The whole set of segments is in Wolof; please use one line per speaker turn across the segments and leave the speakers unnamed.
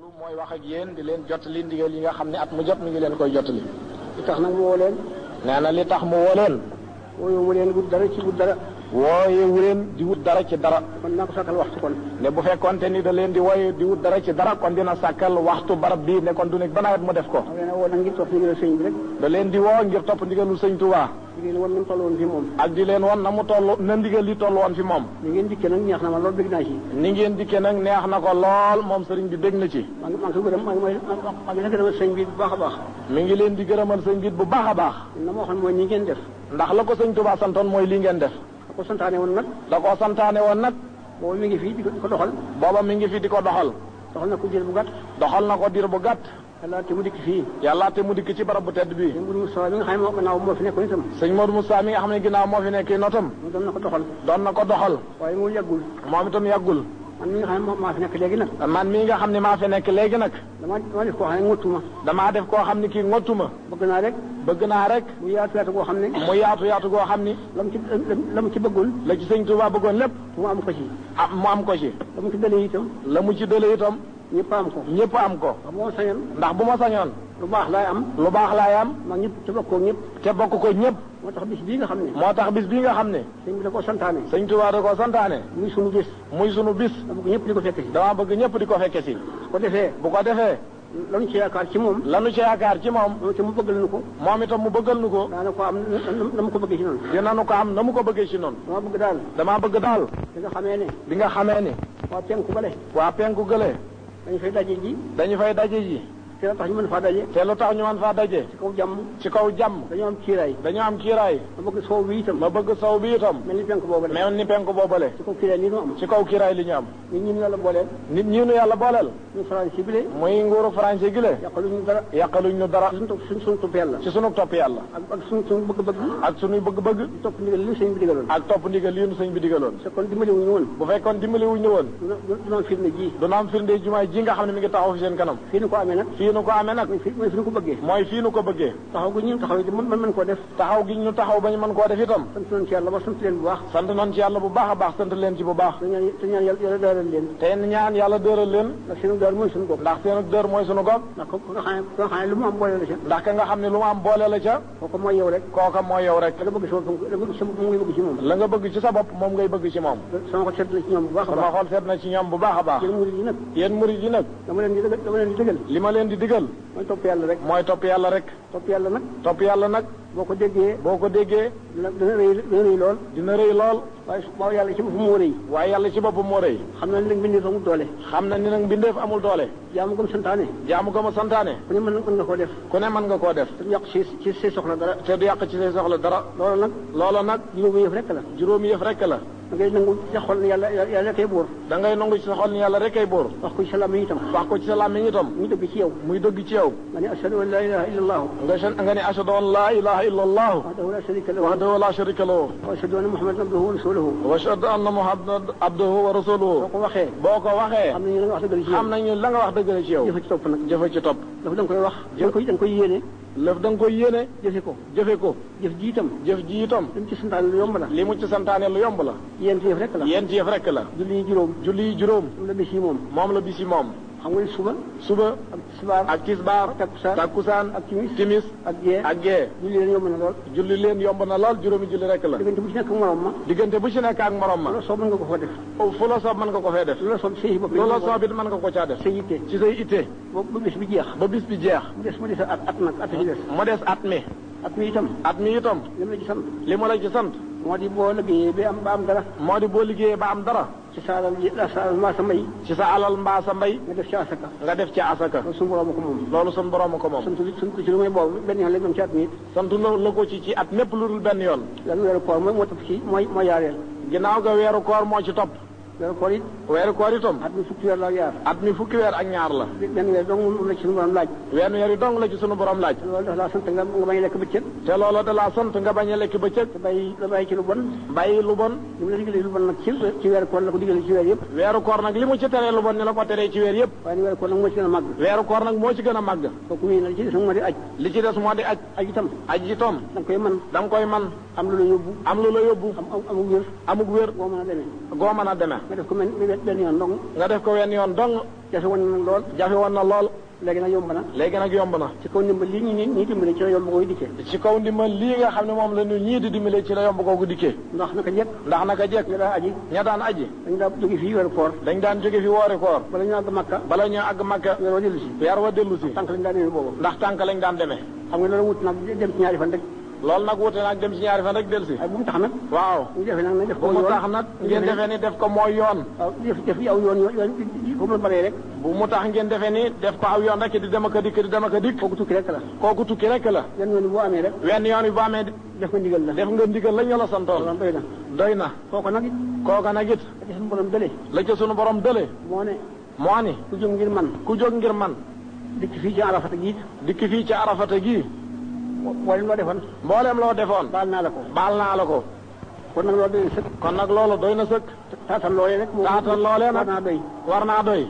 lu mooy wax ak yéen di leen jottali ndigal yi nga xam ne at mu jot mi ngi leen koy jottali
li tax nag mu woo leen
nee na li tax mu woo leen
wooyoo leen wut dara ci wut dara
wooye wu leen di wut dara ci dara
kon naa ko sàkkal waxtu kon
ne bu fekkonte ni da leen di wooye di wut dara ci dara kon dina sàkkal waxtu barab bii ne kon du nekk ba nawet mu def ko
wax leen woo nag ngir topp ndigal sëñ bi rek
da leen di woo ngir topp ndigalul sëñ Tuubaa
di leen wan nu mu toll woon fii moom
ak di leen won na mu toll na ndigal li toll woon fi moom
li ngeen dikkee nag neex na ma loolu bëgg naa ci
ni ngeen dikkee nag neex na ko lool moom sëriñ bi dégg na ci
maa ngi maa ngi ko gërëm maa ngi maa ngi la gërëmal sëñ bi bu baax a baax
mi ngi leen di gërëmal sëñ bi bu baax a baax
na ma waxoon mooy ni ngeen def
ndax la ko sëñ Tuubaa santoon mooy lii ngeen def
da ko santaane woon nag
da koo santaane woon nag
booba mi ngi fii di ko di ko doxal
booba mi ngi fi di ko doxal
doxal na ko jël bu gàtt
doxal na ko diir bu gàtt
yàlla te mu dikk fii
yàlla te mu dikk ci barab bu tedd bi
sëñ Mourou Moustapha mi nga xam ne moo gannaaw moo fi nekkoon itam
sëñ Modou Moussa mi nga xam ne ginnaaw moo fi nekk notam
mu doon na ko doxal
doon na ko doxal
waaye mu yàggul
moom itam yàggul
man mi nga xam ne moo- maa fi nekk léegi nag
man mii nga xam ne maa fi nekk léegi nag
dama dama def koo xam ne ŋottuma
damaa def koo xam ne kii ngottuma
bëgg naa rek
bëgg naa rek
mu yaatu yaatu koo xam ne
mu yaatu yaatu goo xam ni
la mu ci la mu ci bëggul
la ci sëñ Tuubaa bëggoon lépp
mu am ko ci
ah mu am ko ci
la mu ci dalee itam
la mu ci dële itam
ñëpp am ko
ñëpp am ko
wax moo sañoon
ndax bu ma sañoon
lu baax laay am
lu baax laay am
maa ñëpp ci bokkoo ñëpp
te bokk ko ñëpp
moo tax bis bii nga xam ne
moo tax bis bii nga xam ne
sëñ bi da koo santaane
sëñ Tuubaa da koo santaane
muy sunu bis
muy sunu bis
da bëgg ñëpp di ko fekk si
dama bëgg ñëpp di ko fekke si
su ko defee
bu ko defee
lañu ci yaakaar ci moom
lanu ci yaakaar ci moom
moom te mu bëggal nu ko
moom itam mu bëggal nu ko
daana ko am na mu ko bëggee ci noonu
dinañu ko am na mu ko bëggee ci noonu
dama bëgg daal
damaa bëgg daal
di nga xamee ne
bi nga xamee ni
waa penku bale
waa penku gële
dañu fay daje ji
dañu fay daje ji
te la tax ñu mën faa daje
te lu tax ñu mën faa daje
ci kaw jàmm
ci kaw jàmm
dañoo am kiiraay
dañu am kiiraay
ma bëgg soow bi itam
ma bëgg saw bi itam
mel ni penku boobu la
mel ni penku boobale
ci kaw kiiraay li nu am
ci kaw kiiraay li ñu am
ñun ñun yàlla booleel
nit ñi nu yàlla booleel
ñu faral ci bile
muy nguuru français gi le
yàqaluñu dara
yàqaluñ nu dara
suñ topp suñ suñ topp yàlla
ci sunu topp yàlla
ak ak suñ suñ bëgg-bëgg
ak sunuy bëgg-bëgg
topp ndigal li sëñ bi digaloon
ak topp ndigal li nu sëñ bi digaloon
te kon dimbaliwuñu woon
bu fekkoon dimbaliwuñ nu woon
du du doon firnde ji
du na am firnde jumaay ji nga xam ne mi ngi taxaw fi seen kanam
fii nu ko amee nag
fii nu ko amee nag
mooy fi mooy fi nu ko bëggee
mooy fii nu ko bëggee
taxaw gu ñu taxaw it man man mën koo def
taxaw gi ñu taxaw ba ñu mën koo def itam
sant nañ ci yàlla ba sant leen bu baax
sant nañ ci yàlla bu baax a baax sant leen ci bu baax
te ñaan te ñaan yàlla yàlla daaral leen
te ñaan yàlla dëral leen
ndax seen daar mooy suñu bopp
ndax seen dër mooy sunu gopp
ndax ko ko nga xam ne ko nga xam ne lu mu am boole la ca
ndax ka nga xam ne lu mu am boole la ca
kooku mooy yow rek
kooka mooy yow rek
la bëgg sama bopp la bëgg sama moom ngay bëgg ci moom
la nga bëgg ci sa bopp moom ngay bëgg ci moom
sama ko seet na ci ñoom bu baax a
sama
baax
xol seet na ci ñoom bu baax a baax
yéen murid yi nag
yéen murid yi nag
dama leen di dëggal dama leen di dëggal
li ma leen di digal
mooy topp yàlla rek
mooy topp yàlla rek
topp yàlla nag
topp yàlla nag
boo ko déggee
boo ko déggee
dina dina rëy dina rëy lool
dina rëy lool
waaye su waaw yàlla ci boppam moo rëy
waaye yàlla ci boppam moo rëy
xam na ne nag mbindeef amul doole
xam na ni nag mbindeef amul doole
jaamu gëm santaane
jaamu ko ma santaane
ku ne mën na mën nga koo def
ku ne mën nga koo def
te du yàq ci ci say soxla dara
te du yàq ci say soxla dara
loolu nag
loola nag
juróomi yëf rek la
juróomi yëf rek la
da ngay nangu sa xol ne yàlla yàlla kay buur
da ngay nangu ci sa xol ni yàlla rek ay bóor
wax ko ci salaam yi itam
wax ko ci sa làmmiñ itam
ñu dëgg ci yow
muy dëgg ci yow
nga ne ashhadu an la ilaha illa allah
nga seen nga ne ashhadu an laa ilaha illa allahu
wahdahu la sharika lahu
wahdahu la sharika lahu
wa ashhadu anna muhammadan abduhu wa rasuluhu
wa ashhadu anna muhammadan abduhu wa
boo
rasuluhu
ko waxee
boo ko waxee
xam nañu la nga wax dëgg ci yow
xam nañu la nga wax dëgg la ci yow
jëfe ci topp nag
jëfe ci topp
dafa da nga koy wax da nga koy da nga koy yéene
lëf da nga koy yéene
jëfe ko
jëfe ko
jëf ji itam
jëf ji itam
li mu ci santaane lu yomb la
li mu ci santaane lu yomb la
yéen yëf rek la
yent yëf rek la
julli yi juróom
julli yi juróom
moom la bis yi moom
moom la bisi moom
xam nga ne suba
suba
ak tisbaar
ak tisbaar
takkusaan
takkusaan
ak timis
timis
ak gee
ak gee
julli leen yomb na lool
julli leen yomb na lool juróomi julli rek la
diggante bu ci nekk morom ma
diggante bu ci nekk ak morom ma
loolu soo mën nga ko fa def
fu la soob mën nga ko fee def
loolu soo sëy bopp
loola soob it mën nga ko caa def
sa yitte
ci say itte
ba ba bis bi jeex
ba bis bi jeex
mu des mu des at at nag at yi des
mu des at mi
at mi itam
at mi itam
lim la ci sant
li mu la ci sant
moo di boo liggéeyee ba am ba am dara
moo di boo liggéeyee ba am dara
ci sa alal ji sa alal maa sa mbay
ci sa alal mbaa sa mbay
nga def ci asaka
nga def ci asaka
loolu suñu borom ko moom
loolu sun borom ko moom
sant li sant ci lu may boobu benn yoon la ñu am ci at mi it
sant na la ko ci ci at mépp lu dul benn yoon
lan weeru koor mooy moo topp ci mooy mooy yaareel
ginnaaw ga weeru koor moo ci topp
weeru koor it
weeru koor itam
at mi fukki weer la ak yaar
at mi fukki weer ak ñaar la
benn weer dong moom la ci suñu borom laaj
wenn weer yi dong la ci sunu borom laaj
loolu dafa laa sant nga nga bañ a lekk bëccëg
te loola da laa sant nga bañ a lekk bëccëg
te bàyyi nga bàyyi ci lu bon
bàyyi lu bon
li mu la digalee lu bon nag ci ci weeru koor la ko digalee ci weer yëpp
weeru koor nag li mu ci teree lu bon ni la ko teree ci weer yëpp
waaye ni weeru koor nag moo ci gën a màgg
weeru koor nag moo ci gën a màgg
kooku mii nag li ci des nag moo di aj
li ci des moo di aj
aj itam
aj ji tom
da nga koy mën
da nga koy man
am lu la yóbbu
am lu la yóbbu
am am amul wér
amug wér
boo mën a demee
goo mën a demee
nga def ko mel ni wet benn yoon dong
nga def ko wenn yoon dong
jafe woon na lool
jafe woon na lool
léegi nag yomb na
léegi nag yomb na
ci kaw ndimbal lii ñu ni ñii dimbale ci la yomb koy dikkee
ci kaw ndimbal lii nga xam ne moom la ñu ñii di dimbale ci la yomb kooku dikkee
ndax naka jekk
ndax naka jekk
nga daa aji
ña daan aji
dañ daa jóge fii weeru koor
dañ daan jóge fi woori koor
bala ñu àgg Makka
bala ñu àgg Makka
weer wa dellu si
weer wa dellu si
tànk lañ daa demee boobu
ndax tànk lañ daan demee
xam nga loolu wut nag dem ci ñaari fan rek
loolu nag wute nag dem ci ñaari fan rek dellu si
ay bu mu tax nag
waaw
ñu defee nag nañ def
bu
ko
mu
yoon
tax nag ngeen defee ni def ko mooy yoon
waaw def def yi aw yoon yoon yoon yi foofu la baree rek
bu mu tax ngeen defee ni def ko aw yoon rek di dem ak a dikk di dem ak a dikk
kooku tukki rek la
kooku tukki rek la
yan yoon boo amee rek
wenn yoon wi bu amee
def nga ndigal la
def nga ndigal la ñu la santoon
loolu doy na
doy na
kooku nag it
kooka nag it
dafa suñu borom dële
la ca sunu borom dële
moo ne
moo ni
ku jóg ngir man
ku jóg ngir man
dikk fii ci Arafat gi it
dikk fii ci arafata gii
wala loo defoon
mbooleem loo defoon
baal naa la ko
baal naa la ko
kon nag loolu doy na sëkk
kon nag loolu doy na sëkk
taatal loolee rek moom
taatal loolee nag
war naa doy
war naa doy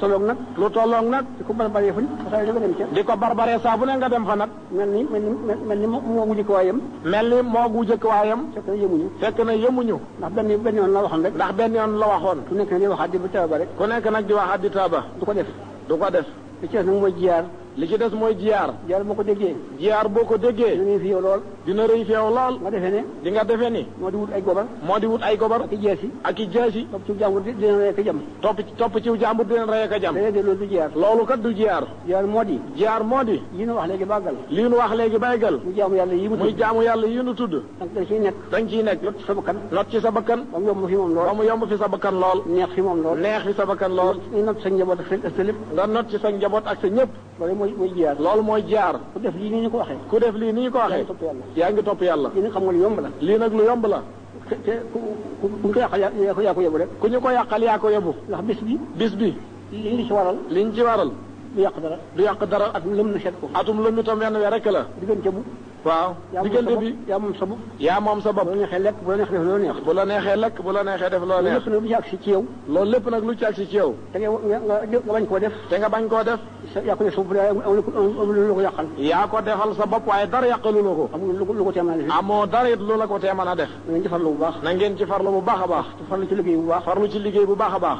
toloog nag
lu tolloog nag
di ko barbaree fu ne saa yu dem ca
di ko barbaree saa bu ne nga dem fa nag
mel ni mel ni mel ni moo moo wujj ko waayam
mel ni moo gu jëkk waayam
fekk na yëmuñu
fekk na yemuñu
ndax benn benn yoon la waxoon rek
ndax benn yoon la waxoon
ku nekk ne di waxaat di ba taw ba rek
ku nekk nag di wax addi taaba
du ko def
du ko def
li ci des nag mooy jiyaar
li ci des mooy jiyaar
jiyaar boo ko déggee
jiyaar boo ko déggee
ñu ngi fi yow lool
dina rëy fi yow lool
nga defee ne
di nga defe ni
moo di wut ay gobar
moo di wut ay gobar
ak i jees yi
ak i jaasi
topp ci jàmbur di dina rek jam
topp topp ciw jàmbur dina rey ak a jam
léeg-léeg loolu du jiyaar
loolu kat du jiyaar
jiyaar moo di
jiyaar moo di
yi nu wax léegi bàggal
lii nu wax léegi baygal
mu jaamu yàlla yi mu
muy
tudd
jaamu yàlla yi nu tudd
nag da ciy nekk
dañ ciy nekk
lot sa bakkan
not ci sa bakkan
ba mu yomb fi moom
ba
lool
mu yomb fi sa bakkan lool
neex fi moom lool
neex fi sa bakkan lool
ñu not sa njaboot ak seen ësta lépp
nga not ci sa njaboot ak sa ñëpp
loolu mooy mooy jiyaar
loolu mooy jaar
ku def lii ni ñu ko waxee
ku def lii ni ñu ko waxee
topp yàlla
yaa ngi topp yàlla
yéen a xam nga lu yomb la
lii nag lu yomb la
te te ku ku ku nga yàqal yaa yaa ko yaa ko yóbbu rek
ku ñu ko yàqal yaa ko yóbbu
ndax bis bi
bis bi
li li ci waral
liñ ci waral
du yàq dara
du yàq dara
ak lëm na seet ko
atum lëmmi tam wenn weer rek la
diggante bu
waaw
yaa moom sa
diggante
bopp
bi
yaa moom sa bopp
yaa moom sa bopp
bu la neexee lekk bu la neexee def loolu neex
bu la neexee lekk bu la neexee def loo
loolu
neex
lépp nag du ci agsi
loolu lépp nag lu ci agsi
ci yow
ci yow
te nga nga nga nga bañ koo def
te nga bañ koo def
sa yaa ko def sa bopp daa amul amul lu ko yàqal
yaa ko defal sa bopp waaye dara yàqalu la ko
amul lu ko lu ko teemaale fi
amoo dara it lu la ko tee mën a def
nañ ci farlu bu baax
na ngeen ci farlu bu baax a baax
te farlu ci liggéey bu baax
farlu ci liggéey bu baax a baax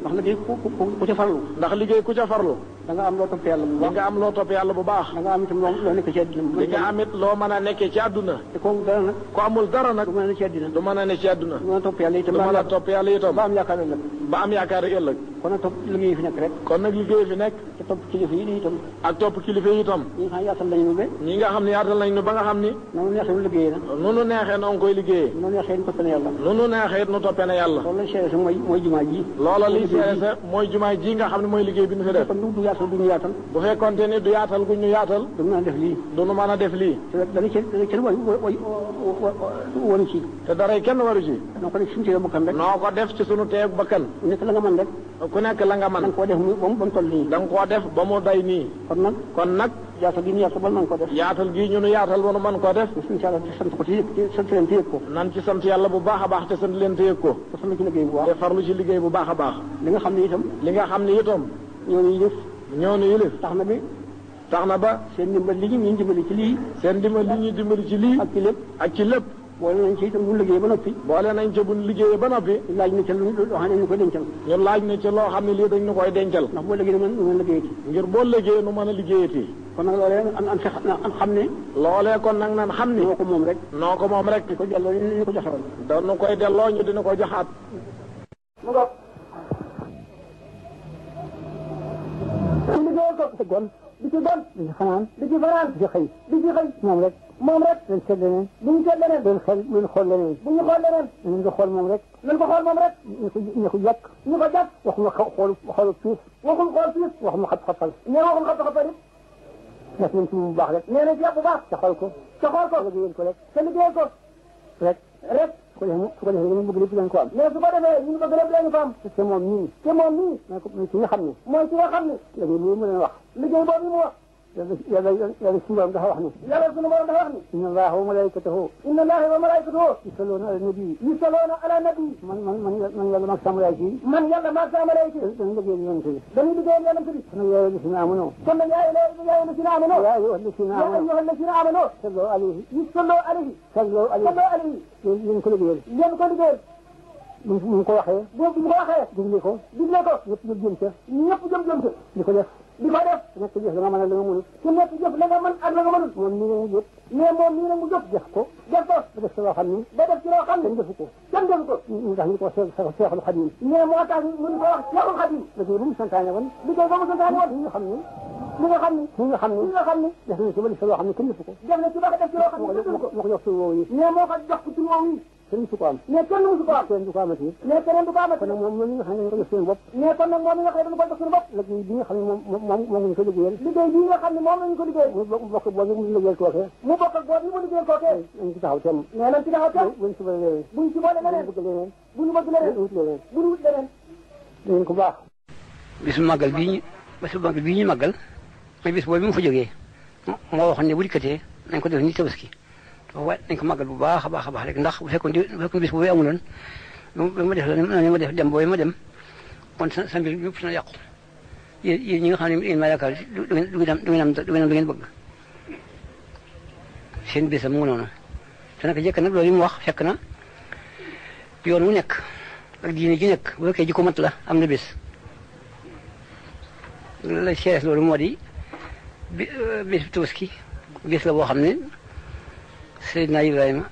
ndax liggéey ku ku ku ku ci farlu
ndax liggéey ku ca farlu
da nga am loo topp yàlla bu
di
baax
nga am loo topp yàlla bu baax
da nga am itam loo loo nekk ci àddina bu
di nga am it loo mën a nekkee ci àdduna
te kooku dara nag
ku amul dara nag
du mën a ne ci àddina
du mën a ne ci àdduna
du mën a topp yàlla
du
itam
mën a topp yàlla itam
ba am yaakaar ëllëg
ba am yaakaar ëllëg
kon nag topp liggéey yi fi nekk rek
kon nag liggéey fi nekk
te topp kilifa yi itam
ak topp kilifa yi itam
ñi nga xam ne yaatal lañu ba
ñi nga xam ne yaatal nañ nu ba nga xam ni
noonu neexee nu liggéey na
nu nu neexee noonu koy liggéeyee
noonu neexee nu topp na yàlla
nu nu neexee it nu toppee na yàlla
loolu lañ seere sa mooy mooy jumaa ji
loola liy seere sa mooy jumaa ji nga xam ne mooy liggéey bi nu fi def
kon du du yaatal du ñu yaatal
bu fekkonte ni du yaatal gu ñu yaatal
du mën a def lii
du nu mën a def lii
te dana ci dana ci way way woon ci
te daray kenn waru ci
donc rek suñu tee bakkan rek
noo ko def ci sunu teeg bakkan
nekk la nga mën rek
ku nekk la nga
da nga
man
koo def mu ba mu ba mu toll nii
da nga koo def ba mu day nii
kon nag
kon nag
yaatal gi ñu yaatal ba mën koo def
yaatal gii ñu nu yaatal ba nu mën koo def
suñu yàlla di sant ko ci yëg sant leen ci yëg ko
nan ci sant yàlla bu baax a baax te sant leen te yëg ko
te farlu ci liggéey bu baax
te farlu ci liggéey bu baax a baax
li nga xam ne itam
li nga xam ni itam
ñooñu yëf
ñoo nu yilif
tax na bi
tax na ba
seen ndimbal li ñu ñu dimbali ci lii
seen dimbal li ñuy dimbali ci lii
ak ci lépp
ak ci lépp
boole nañ ci itam bu liggéey ba noppi
boole nañ ca buñ liggéeyee ba noppi
laaj na ca lu lu xam ne ñu ko dencal
ñu laaj na ca loo xam ne lii dañ nu koy dencal
ndax boo liggéey mën mën a liggéey ci
ngir boo liggéeyee nu mën a liggéeyati
kon nag loolee an an fex na an xam ne
loolee kon nag nan xam ni
moo ko moom rek
noo ko moom rek
di ko delloo li ñu ko joxewoon
danu koy delloo ñu dina ko joxaat
di liggéeyal ko di gon di ci gon
di ci fanaan
di ci fanaan
di ci xëy
di ci xëy
moom rek
moom rek
lañ seet leneen
bu ñu seet leneen
doon xel luñ xool leneen
bu ñu xool leneen
nañ ko xool moom rek
nañ ko xool moom rek
ñu ko ñu ko jàkk
ñu ko jàpp
waxuma xaw xool xoolu piis
waxul xool siis
waxuma xat xatal
nee waxul xam taxa parit
def nañ ci bu baax rek
nee na ci yàpp bu baax
te xool ko
te xool ko
liggéeyal ko rek
te liggéeyal ko
rek
rek
su ko defee mu- su ko defee dañu bëgg lépp dañ ko am
mais su ko defee ñu bëgg lépp lañu fa am
te moom ñii
te moom mii
ma ne ko ci nga xam ne
mooy ci nga xam ni
léegi lii mu leen wax
liggéey boobu mu wax
yàlla yàlla yàlla suñu borom dafa wax ne
yàlla sunu borom dafa wax ni
inna allaha wa malaikatahu
inna allaha wa malaikatahu
yusalluuna ala nabi
yusalluna ala nabi
man man man man yàlla mag sama yaay ci
man yàlla maa sa malaika yi
dañu liggéeyal yonent bi
dañuy liggéeyal yonent bi
kon nag yaa ayyuha allaziina aamanuu
kon nag yaa yaa lasina amano
yaa ayyuha allaziina
يا
aamanuu
أيها الذين آمنوا
sallu alayhi
صلوا عليه
sallu alayhi
صلوا عليه
yéen yéen ko liggéeyal
لأن كل ذلك
mu mu ko waxee
boobu bu ko waxee
digle ko
digle ko
ñëpp ñu jëm ca
ñëpp jëm jëm ca
di ko def
di ko def
ku nekk jëf la nga mën a la nga mënut
ku nekk jëf la nga mën ak la nga mënul
moom ni nga mu jëf
mais moom nii nag mu jëf
def ko
def ko
ba def sa loo xam ni
ba def ci loo xam
kenn
ne
defu ko
kenn defu ko
ñu tax ñu ko seex seexul xadim
mais moo tax ñu mun ko wax Seexul Xadiim
liggéey bu mu santaane woon
liggéey ba mu santaane woon
ñi nga xam ni
li nga xam ni
ñi nga xam
li
ni
nga xam
def nañ ci ba def
ni
sa loo xam ni kenn defu ko
def na ci ba ko def ci loo xam
moo
ne
ko jox
defu ko
moo ko jox tur woowu yi
mais moo ko jox ci moom yi
kenn su ko am
mais kenn musu ko am
kenn du ko amati
mais keneen du ko amati
kon nag moom ñoom ñi nga xam ne dañ ko jox seen bopp
mais kon nag moom mi nga xam ne dañu ko jox suñu bopp
liggéey bi nga xam ne moom moom moom moom ñu ko liggéeyal
liggéey bii nga xam ne moom lañu ko liggéey
mu bokk bokk boo mu liggéeyal kookee
mu bokk ak boobu yi mu liggéeyal kookee
dañ ci taxaw temm
mais lan ci taxaw
bu
kenn
buñ suba léegi
buñ ci boole leneen
bëgg leneen
buñu bëgg leneen
wut leneen
buñu wut leneen
dinañ ko baax
bisu màggal bii ñu bisu màggal bii ñu màggal mooy bis boobu bi mu fa jógee moo waxoon ne bu dikkatee nañ ko def ni tabaski waaye nañ ko màggal bu baax a baax a baax rek ndax bu fekkoon di bu fekkoon bis boobu amuloon ba ma def la ni ma def dem boobu ma dem kon sa sa mbir mi yëpp dina yàqu yéen yéen ñi nga xam ne yéen maa yaakaar du du ngeen du ngeen am du ngeen am du ngeen am du ngeen bëgg seen bisam mu ngi noonu te naka jëkk nag loolu yi mu wax fekk na yoon wu nekk ak diine ji nekk bu fekkee ji ko mat la am na bis la seeres loolu moo di bi bis tabaski bis la boo xam ne Seydina Ibrahima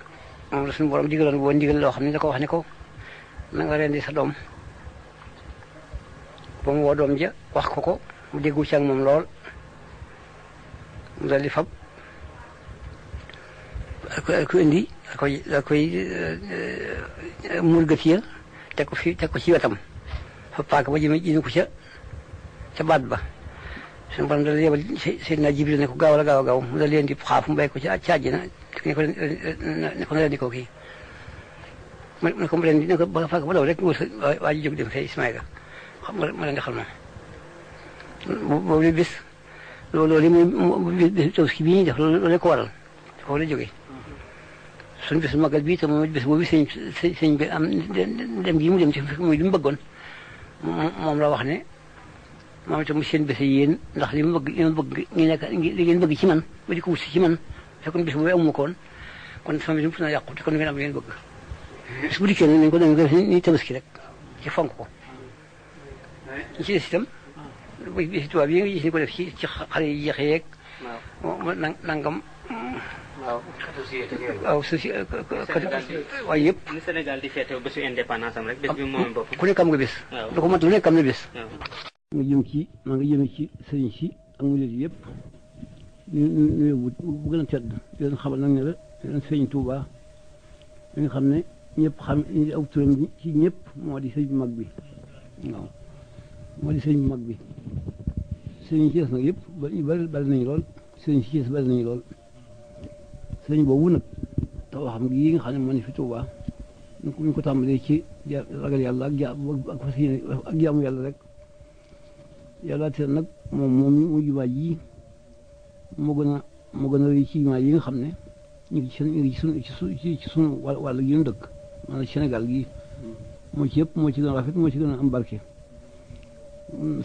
moom la suñu borom digaloon boo ndigal loo xam ne da ko wax ne ko na nga rendi sa doom ba mu woo doom ja wax ko ko mu déggu ci ak moom lool mu dal di fab daal koy daal koy indi daal koy daal koy eh, eh, murgati ya teg ko fi teg ko ci wetam fa paak ba jëme jëme ko ca ca baat ba suñu borom dala yebal Se- Seydina Jibril ne ko gaaw la gaaw a gaaw mu dal leen di xaaf mu bàyyi ko ca caaji na ne ko ne ko leen di ko kii ma ne ko ma leen di ne ko ba fàkk ba daw rek wër waa waa ji jóg dem fee Ismaïla xam nga ma leen di xal moom boobu la bis loolu loolu muy mu- bis tabaski bi ñuy def loolu loolu ko waral foofu la jógee suñu bis magal bii te moom it bis boobu sëñ sëñ sëñ bi am dem gi mu dem ci muy li mu bëggoon moom moom la wax ne moom itam seen bés yi yéen ndax li mu bëgg li mu bëgg ngi nekk li ngeen bëgg ci man ba di ko wut si ci man fekkoon bis boobu amuma ko woon kon sama bis mu na yàqu te kon ngeen am li ngeen bëgg bis bu dikkee nag nañ ko dañ ko def ni tabaski rek ci fonk ko ñi ci des itam bi bisi tubaab yi nga gis ni ko def ci ci xale yi jeex yeeg na nangam
waaw associé ak yooyu.
waaw su si waaye yëpp
ni Sénégal di feete bésu indépendance am rek bés bi moom bopp.
ku nekk am nga bés
waaw.
lu ko mat lu nekk am na bés
waaw.
nga jëm ci maa ngi jëme ci sëriñ si ak murid yëpp ñu ñu ñu yóbbu bu gën a tedd di leen xamal nag ne la di leen sëriñ Touba bi nga xam ne ñëpp xam ñu aw turam bi ci ñëpp moo di sëriñ bu mag bi waaw moo di sëriñ bu mag bi sëriñ si nag yëpp ba ñu bari bari nañu lool sëriñ si bari nañu lool sëriñ boobu nag taw xam gi nga xam ne moo ne fi Touba ñu ko ñu ko tàmbalee ci ja- ragal yàlla ak jaamu ak fas yéene ak jaamu yàlla rek. yàlla te nag moom moom mu jumaa ji moo gën a moo gën a rëy ci jumaa yi nga xam ne ñu ngi ci ñu ngi ci sunu ci sunu ci sunu wàll wàll gi ñu dëkk maanaam Sénégal gi moo ci yëpp moo ci gën a rafet moo ci gën a am barke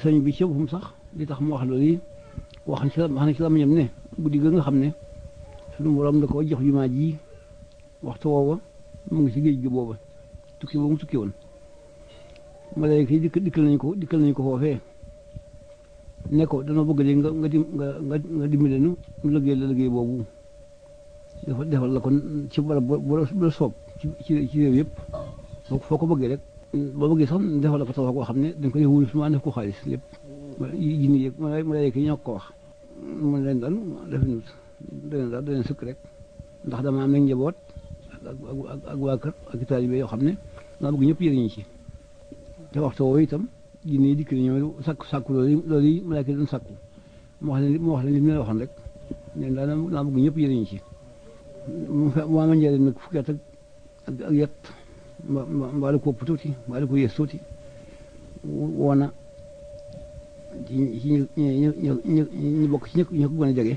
sëñ bi ci boppam sax li tax mu wax loolu yi wax na ci la wax na ci la ma ñam ne guddi ga nga xam ne sunu borom da ko jox jumaa ji waxtu woowa mu ngi ci géej gi booba tukki boobu mu tukki woon malaaka yi dikk dikkal nañ ko dikkal nañ ko foofee ne ko dana bëgg de nga nga dim nga nga nga dimbale nu nu liggéey la liggéey boobu dafa defal la kon ci barab bu bu la soob ci ci ci réew yëpp foo ko foo ko bëggee rek boo bëggee sax defal la ko taxaw koo xam ne dañ ko def wóolu suma def ko xaalis lépp yi jinne yëg ma ma lay kii ñoo ko wax mun leen daal dafa nut daleen daal daleen sëkk rek ndax dama am nag njaboot ak ak- ak ak waa kër ak taalibe yoo xam ne dama bëgg ñëpp yëriñu ci te waxtu woowu itam jinne yi dikk ñoom sàkku sàkku loolu yi loolu yi malaaka yi doon sàkku mu wax leen li mu wax leen li mu leen waxoon rek ne daal naa bëgg ñëpp yëriñu ci mu fe mu am njëriñ nag fukki at ak ak ak yett mba mba mbaa la ko ëpp tuuti mbaa la ko yées tuuti woo na ci ci ñu ñu ñu ñu ñu bokk ci ñi ko ñi ko gën a jege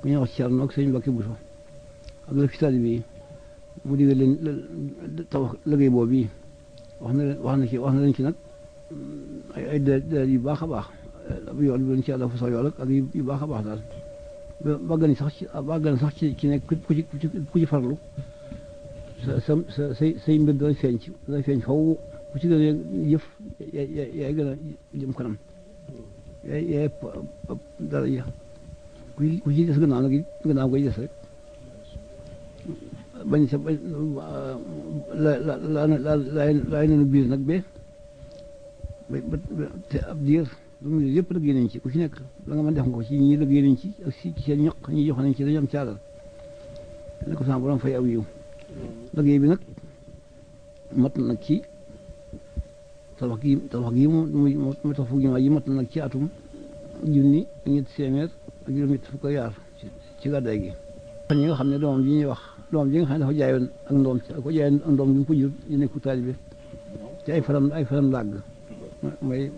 ku ñuy wax Thierno ak sëñ Mbacke Bousso ak la fitali bi mu digal leen taw liggéey boobu yi wax na leen wax na ci wax na leen ci nag. ay ay dé dé yu baax a baax ab yoon bi ci yàlla fu sax yool ak ak yu yu baax a baax daal ba ba gën sax ci ba gën sax ci ci nekk ku ci ku ci ku ci farlu
sa sa sa say say mbir dooy feeñ ci dooy feeñ faw ku ci gën a yëf ya- ya- yaay gën a jëm kanam yaay yaay p- p- dara ja ku ci ku ci des gannaaw nag gannaaw ngay des rek bañ sa bañ la la la la laay nañu biir nag bee ba ba te ab diir lu mu yëpp liggéey nañ ci ku ci nekk la nga mën def nga ko ci ñi liggéey nañ ci ak si ci seen ñaq ñi jox nañ ci dañu am caagal ne ko sama borom fay aw yiw liggéey bi nag mat na nag ci tabax gi tabax gi mu mu mu mu tax fu jumaa ji mat na nag ci atum junni ak ñetti téeméer ak juróom-ñett fukk ak yaar ci ci gàddaay gi. kon ñi nga xam ne doomam ji ñuy wax doomam ji nga xam ne dafa jaayoon ak ndoom ci ko jaayoon ak ndoom bi mu ko jur ñu nekk taalibe te ay faram ay faram làgg mooy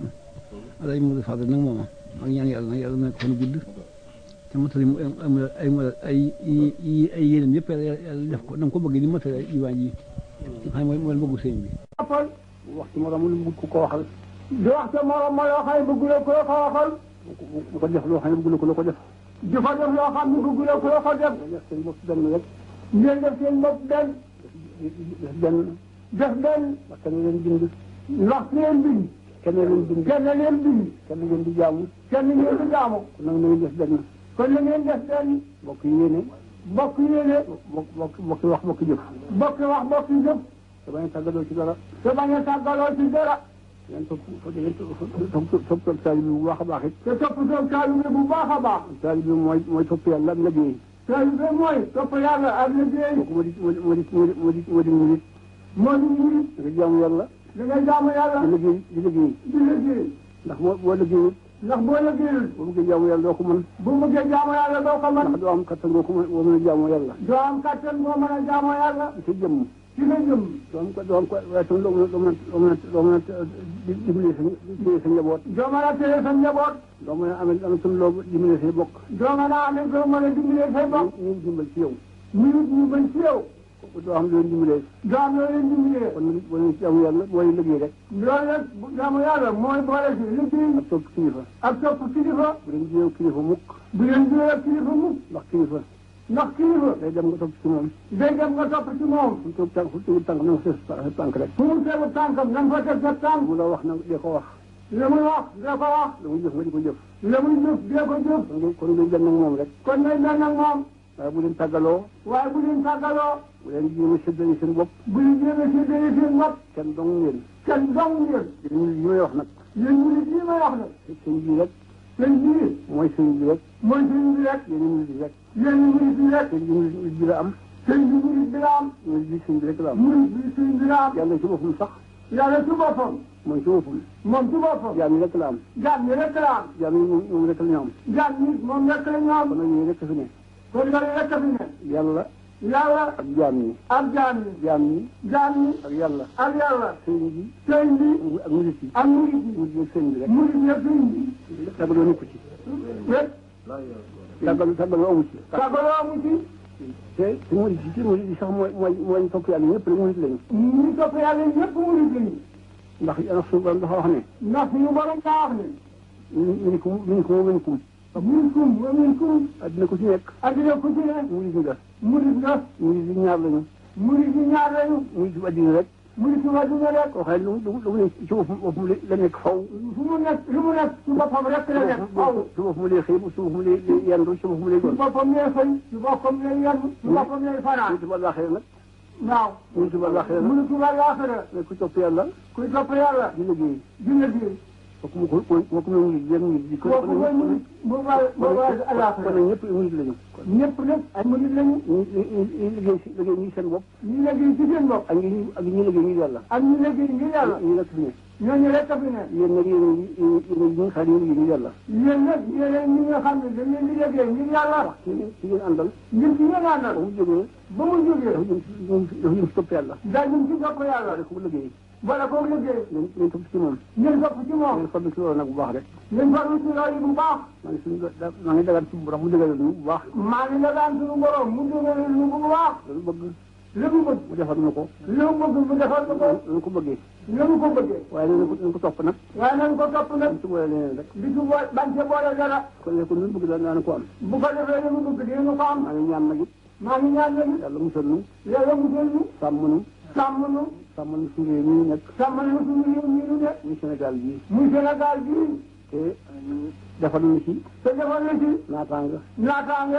alay Modou Fadal nag moom ak ñaan yàlla nag yàlla nekk fan gudd te matali mu am ay mala ay yi ay yéenam yëpp yàlla yàlla def ko na nga ko bëgg di matali ay iwaan yi nga xam ne mooy mooy bëggu sëñ bi.
waxal
waxtu moroom lu bëgg ku ko waxal
di wax sa morom ma loo xam ne bëgg la ku la ko waxal
bu ko def loo xam ne bëgg na ko la ko def
di fa def loo xam ne bëgg la ku la ko def
def seen bopp benn rek
ngeen def seen bopp benn
def benn
def benn
ndax kenn leen bind
ndax leen bind
kenn leen bind
kenn leen bind
kenn leen di jaamu
kenn ngeen di jaamu
kon nag na ngeen def benn
kon la ngeen def benn
bokk yéene
bokk yéene
bokk bokk bokk wax bokk jëf
bokk wax bokk jëf
te bañ a tàggatoo ci dara
te bañ a tàggaloo ci dara
ngeen topp ngeen topp topp topp taalibe bu baax a baax it
te topp seen taalibe bu baax a baax
taalibe mooy mooy topp yàlla ak liggéey
taalibe mooy topp yàlla ak liggéey
kooku moo di moo di moo di moo di moo di moo di murit
moo di murit
da nga jaamu yàlla
da nga jaamu yàlla
di liggéey di liggéey
di liggéey
ndax boo boo liggéeyut
ndax boo liggéeyul
boo bëggee jaamu yàlla doo ko mën
bu bëggee jaamu yàlla doo ko mën
ndax doo am kattan doo ko mën boo mën a jaamu yàlla
doo am kattan boo mën a jaamu yàlla
sa jëmm
ci la jëm
doo am ko doo am ko waaye tam doo mën a doo mën a doo mën a doo mën a di dimbali sa dimbali sa njaboot
doo mën a téye sa njaboot
doo mën a amee am tam loo dimbali say bokk
doo mën a amee doo mën a dimbalee say bopp
ñu ñu dimbal ci yow
minute ñu bañ ci yow
doo am loo dimbalee
doo am loo leen dimbalee
kon nag boo leen jaamu yàlla boo leen liggéey rek
loolu nag jaamu yàlla mooy boole ci liggéey
ak topp kilifa
ak topp kilifa
bu leen jiyoo kilifa mukk
bu leen jiyee kilifa mukk
ndax kilifa
ndax kilifa
day dem nga topp ci moom
day dem nga topp ci moom
fu mu toog tànk fu mu toog tànk na nga sa sa tànk rek
fu mu tegu tànkam na nga fa teg sa
lu
tànk
mu la wax na dee ko wax
li muy wax dee ko wax
lu mu jëf nga di ko jëf
li muy jëf dee ko jëf
kon nga kon nga jëm nag moom rek
kon ngay mel ak moom
waaye bu leen tàggaloo
waaye bu leen tàggaloo
bu leen jéem a séddale seen bopp
bu ñu jéemee ci dëgg seen bopp
kenn dong ngeen
kenn dong ngeen
yéen ñu li may wax nag
yéen ñu ngi lii may wax nag
seen bii rek
seen bii
mooy seen bii rek
mooy seen bi rek
yéen ñu li rek
yéen ñu ngi fi rek
seen bii bi la am
seen bi murit bi la am
ñu li seen bi rek la am
murit bi seen bi la am
yàlla ci boppam sax
yàlla ci boppam
mooy ci boppam
moom ci boppam
jaam yi rek la am
jaam ñi rek la am
jaam yi moom moom rek la ñu am
jaam ñi moom rek la ñu
kon
am
nag yooyu rek fi ne
kon yàlla rek a fi ne
yàlla
yàlla
ak jaam yi
ak jaam ñi
jaam yi
jaam ñi
ak yàlla
ak yàlla
seen bi
seen bi
ak murit yi
ak murit bi
murit yi ak seen bi rek
murit bi ak seen bi
tàggaloo nekku ci
rek
tàggaloo tàggaloo amu ci
tàggaloo amu ci
te te murit yi te murit yi sax mooy mooy mooy topp yàlla ñëpp rek murit lañu
ñu topp yàlla ñëpp murit lañu
ndax ndax suñu borom dafa wax ne
ndax ñu borom daa wax ne
minkum minkum wa minkum
minkum wa minkum
adduna ku ci nekk
addina ku ci ne
murit nga
murit nga
murit yi ñaar lañu
murit yi ñaar lañu
murit bu addina rek
murit yu addina rek
koo xam ne lu mu lu mu lu mu ne ci boppam boppam la nekk faw
fu mu nekk lu mu nekk ci boppam rek la nekk faw
ci boppam lay xëy ci boppam lay lay yendu ci boppam lay
ci
gon
boppam lay xëy ci boppam lay yenn ci boppam lay fanaan
murit bu àllaaxira nag
waaw
murit bu àllaaxira nag
murit yu àllaaxira
ne ku topp yàlla
kuy topp yàlla
di liggéey
dina ji
kooku mu ko kooku mu murit yan murit yi
kooku mooy murit mu waa mu waa si
kon nag
àllaaxira
ñëpp murit lañu
ñëpp nag ay murit lañu
ñu ñu ñu liggéey si liggéey ñi seen bopp
ñu liggéey ci seen bopp
ak ñi ak ñi liggéey ñi yàlla
ak ñu liggéey ngir yàlla
ñi nekk fi ne
ñooñu rek a fi ne
yéen nag yéen yéen yéen ñi nga xam ne yéen liggéey ñi yàlla
yéen nag yéen ñi nga xam ne dañ leen di liggéey ngir yàlla
ci ci ngeen àndal
ngir ci ngeen
ba
àndal
mu jógee
ba mu
dafa
jógee
jëm si dafa jëm si topp yàlla
daal ñu ci topp yàlla
dafa ko liggéey
wala koo liggéey
ngeen ngeen topp ci moom
ngeen topp ci moom
ngeen farlu ci loolu nag bu baax rek
ngeen farlu ci loolu bu baax
maa ngi suñu da maa ngi dagaan ci borom mu dëgëral ñu bu baax
maa ngi la daan suñu borom mu dëgëral lu bu baax
loolu bëgg
lu mu bëgg
mu defal na ko
lu mu bëgg mu defal ko ko
loolu ko bëggee
lu mu ko bëggee
waaye nañ ko nañ ko topp nag
waaye nañ ko topp nag
dañ ci boole leneen rek
di ci boole bañ ci boole dara
kon léegi kon lu mu bëgg daal daan ko am
bu ko defee lu mu bëgg dina ko
maa
am
ngi ñaan nag it
maa ngi ñaan yéen
yàlla musal nu
yàlla mu jël ñu
sàmm nu
sàmm nu
sàmm nu suñu réew mi nag
sàmmal nu suñu réew mi ñu ne
muy Sénégal bii
muy Sénégal bii
te defal nu ci
te defal na ci
naataanga
naataange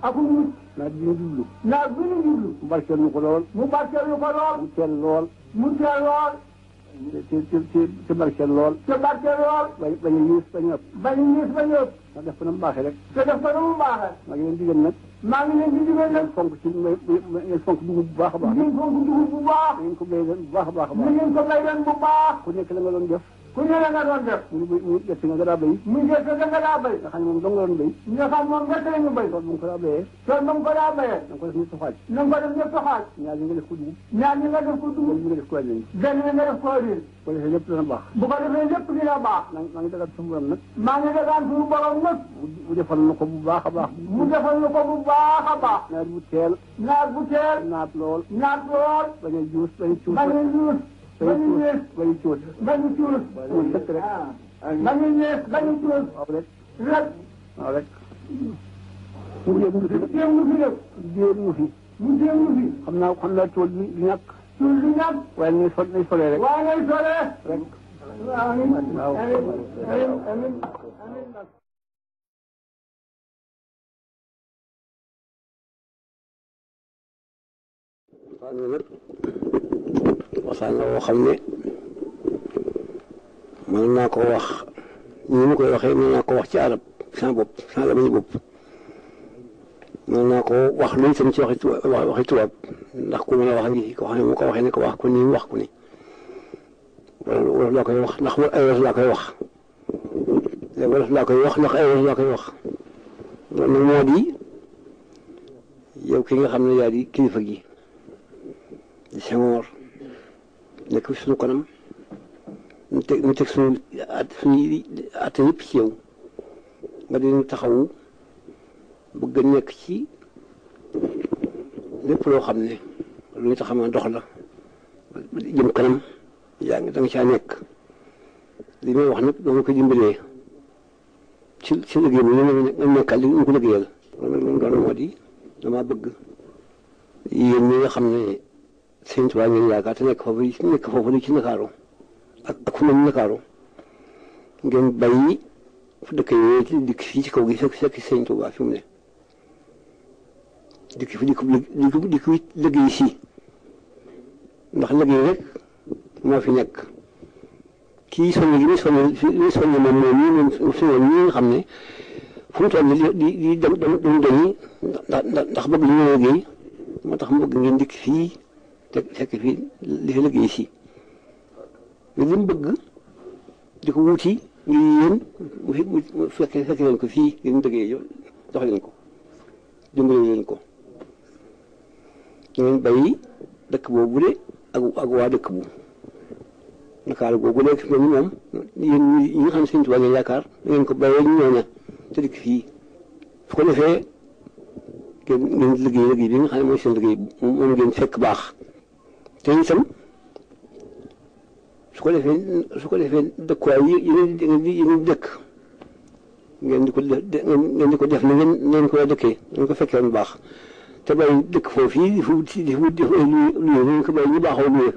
ak mucc
naat bi ñu jublu
naa bi ñu jublu
mu barkeel nu ko lool
mu barkeel ñu ko lool
mu teel lool
mu teel lool
te te te te barkeel lool
te barkeel lool
bañ bañ a yées bañ a ëpp
bañ a ñiis bañ a ëpp
nga def ko na mu baaxee rek
te def ko na mu baaxee
maa ngi leen digal nag
maa ngi leen di digal nag
ngeen fonk ci may may ngeen fonk dugub bu baax a baax
ngeen fonk dugub bu baax
ngeen ko béy leen bu baax a baax a
ni
baax
ngeen ko bay leen bu baax
ku nekk la nga doon def
ku ne la nga doon def
mu bay mu gerte nga daa béy
muy gerte da nga daa bay
nga xam ne moom dong nga doon béy
nga xam moom nga tey ñu bay
tool bu nga ko daa béyee
tool moom ko daa bayee
da nga ko def ñetti xaaj
na nga ko def ñëpp xaaj
ñaar yi nga def ko dugub
ñaar ñi nga def ko
ñaar
dugub
yi nga def ko wàññi
benn bi nga def ko riir
ko defee lépp dana baax
bu ko defee lépp dina baax
maa ngi maa ngi dagal suñu borom nag
maa ngi dagaan suñu borom nag
mu mu defal na ko bu baax a baax
mu defal ñu ko bu baax a baax
nawet bu teel
naat bu teel
naat lool
naat lool
bañ a juus bañ a cuus
bañ a
bañ
ñuus
a Ah.
bañ a
cuus
ñees
bañ a cuus
bañ a cuus
loolu dëkk rek
bañ a ñees bañ a cuus
waaw rek
rek
waaw rek mu jéem ñu fi
jéem ñu fi def
jéem ñu fi
mu jéem ñu fi
xam naa xam naa tool bi du ñàkk
suul du ñàkk
waaye nañ fa nañ solee rek
waaye ngay solee
rek
amin amin amin amin amin
waxtaan la woo xam ne mën naa ko wax ni mu koy waxee mën naa ko wax ci arab sans bopp sans la mañu bopp mën naa ko wax lu itam ci waxi tubaab waxi tubaab ndax ku mën a wax ngi ko xam ne mu ko waxee ne ko wax ko nii wax ko ni wala wala laa koy wax ndax wa ay wolof laa koy wax wolof laa koy wax ndax ay wolof laa koy wax loolu moo di yow ki nga xam ne yaa di kilifa gi di Senghor nekk fi suñu kanam ñu teg ñu teg suñu at suñuy at yëpp ci yow nga di ñu taxawu bëgg a nekk ci lépp loo xam ne lu ñu taxaw dox la jëm kanam yaa ngi da nga caa nekk li may wax nag doo ma ko dimbalee ci ci liggéey bi ñu ne nga nekkal li ñu ko liggéeyal. loolu loolu moo di dama bëgg yéen ñi nga xam ne. sëñ Tuubaa ngeen yaakaar te nekk foofu nekk foofu di ci Ndakaaru ak ak fu mel ni Ndakaaru ngeen bàyyi fu dëkk yooyu ci dikk fii ci kaw gi fekk fekk sëñ Tuubaa fi mu ne dikk fi dikk dikk dikk liggéey si ndax liggéey rek moo fi nekk kii sonn gi muy sonn fi muy sonn moom moom ñii moom fi moom ñii nga xam ne fu mu toll di di di dem dem dem dañuy ndax ndax ndax bëgg li ñu liggéey moo tax mu bëgg ngeen dikk fii te fekk fii li fi liggéey si mais li mu bëgg di ko wuti ngir yéen mu fi mu fekk fekk leen ko fii li mu liggéey yow dox leen ko dimbale leen ko ngeen bàyyi dëkk boobu de ak ak waa dëkk bu Ndakaaru googu de fi mu ne moom yéen ñi nga xam ne Sëñ Tuubaa ngeen yaakaar da ngeen ko bàyyee ñu ñëw na te dikk fii su ko defee ngeen ngeen liggéey liggéey bi nga xam ne mooy seen liggéey moom ngeen fekk baax te itam su ko defee su ko defee dëkkuwaay yi yi ngeen di yi ngeen di dëkk ngeen di ko def ngeen di ko def na ngeen ngeen ko dëkkee ngeen ko fekkee woon baax te bàyyi dëkk foofu yi di fi wut di fi wut di fi luy luy ngeen ko bàyyi ñu baaxoo luy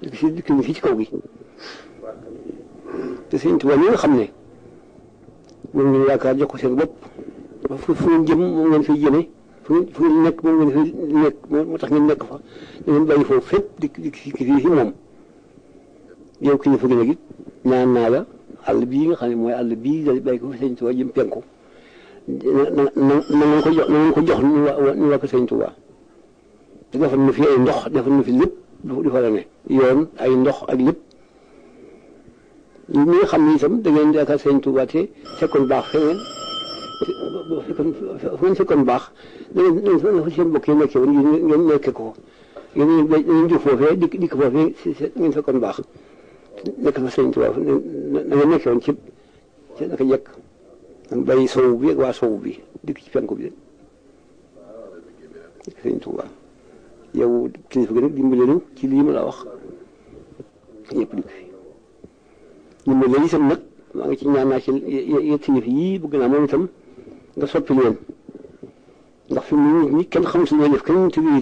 dëkk si dëkk bi fii ci kaw gi te sëñ Tuubaa ñi nga xam ne moom ngeen yaakaar jox ko seen bopp fu fu ngeen jëm moom ngeen fay jëmee fu ngeen fu ngeen nekk moom ngeen fi nekk moo tax ngeen nekk fa da ngeen bàyyi foofu fépp di di kii kii fi moom yow kilifa gi nag it ñaan naa la àll bii nga xam ne mooy àll bii daal di bàyyi ko fi sëñ Tuubaa jëm penku na na na ngeen ko jox na ngeen ko jox nu waa nu waa ko sëñ Tuubaa te defal na fi ay ndox defal na fi lépp du fa la ne yoon ay ndox ak lépp ñi nga xam ne itam da ngeen di yaakaar sëñ Tuubaa te fekkoon baax feneen fekkoon fu fekkoon baax da ngeen fa seen mbokk yi nekkee woon ngeen nekkee ko yéen ñëpp dañuy jóg foofee dikk dikk foofee si si ngeen fekkoon baax nekk fa sëñ Tuubaa na nga nekkee woon ci ci naka jekk ngeen bàyyi sowu bi ak waa sowu bi dikk ci penku bi dikk sëñ Tuubaa yow kilifa gi nag dimbale nu ci lii ma la wax ñëpp dikk fi dimbale itam nag maa ngi ci ñaan naa ci yetti yëf yii bëgg naa moom itam nga soppi leen ndax fi mu ne nii kenn xamul suñu def kenn mënut a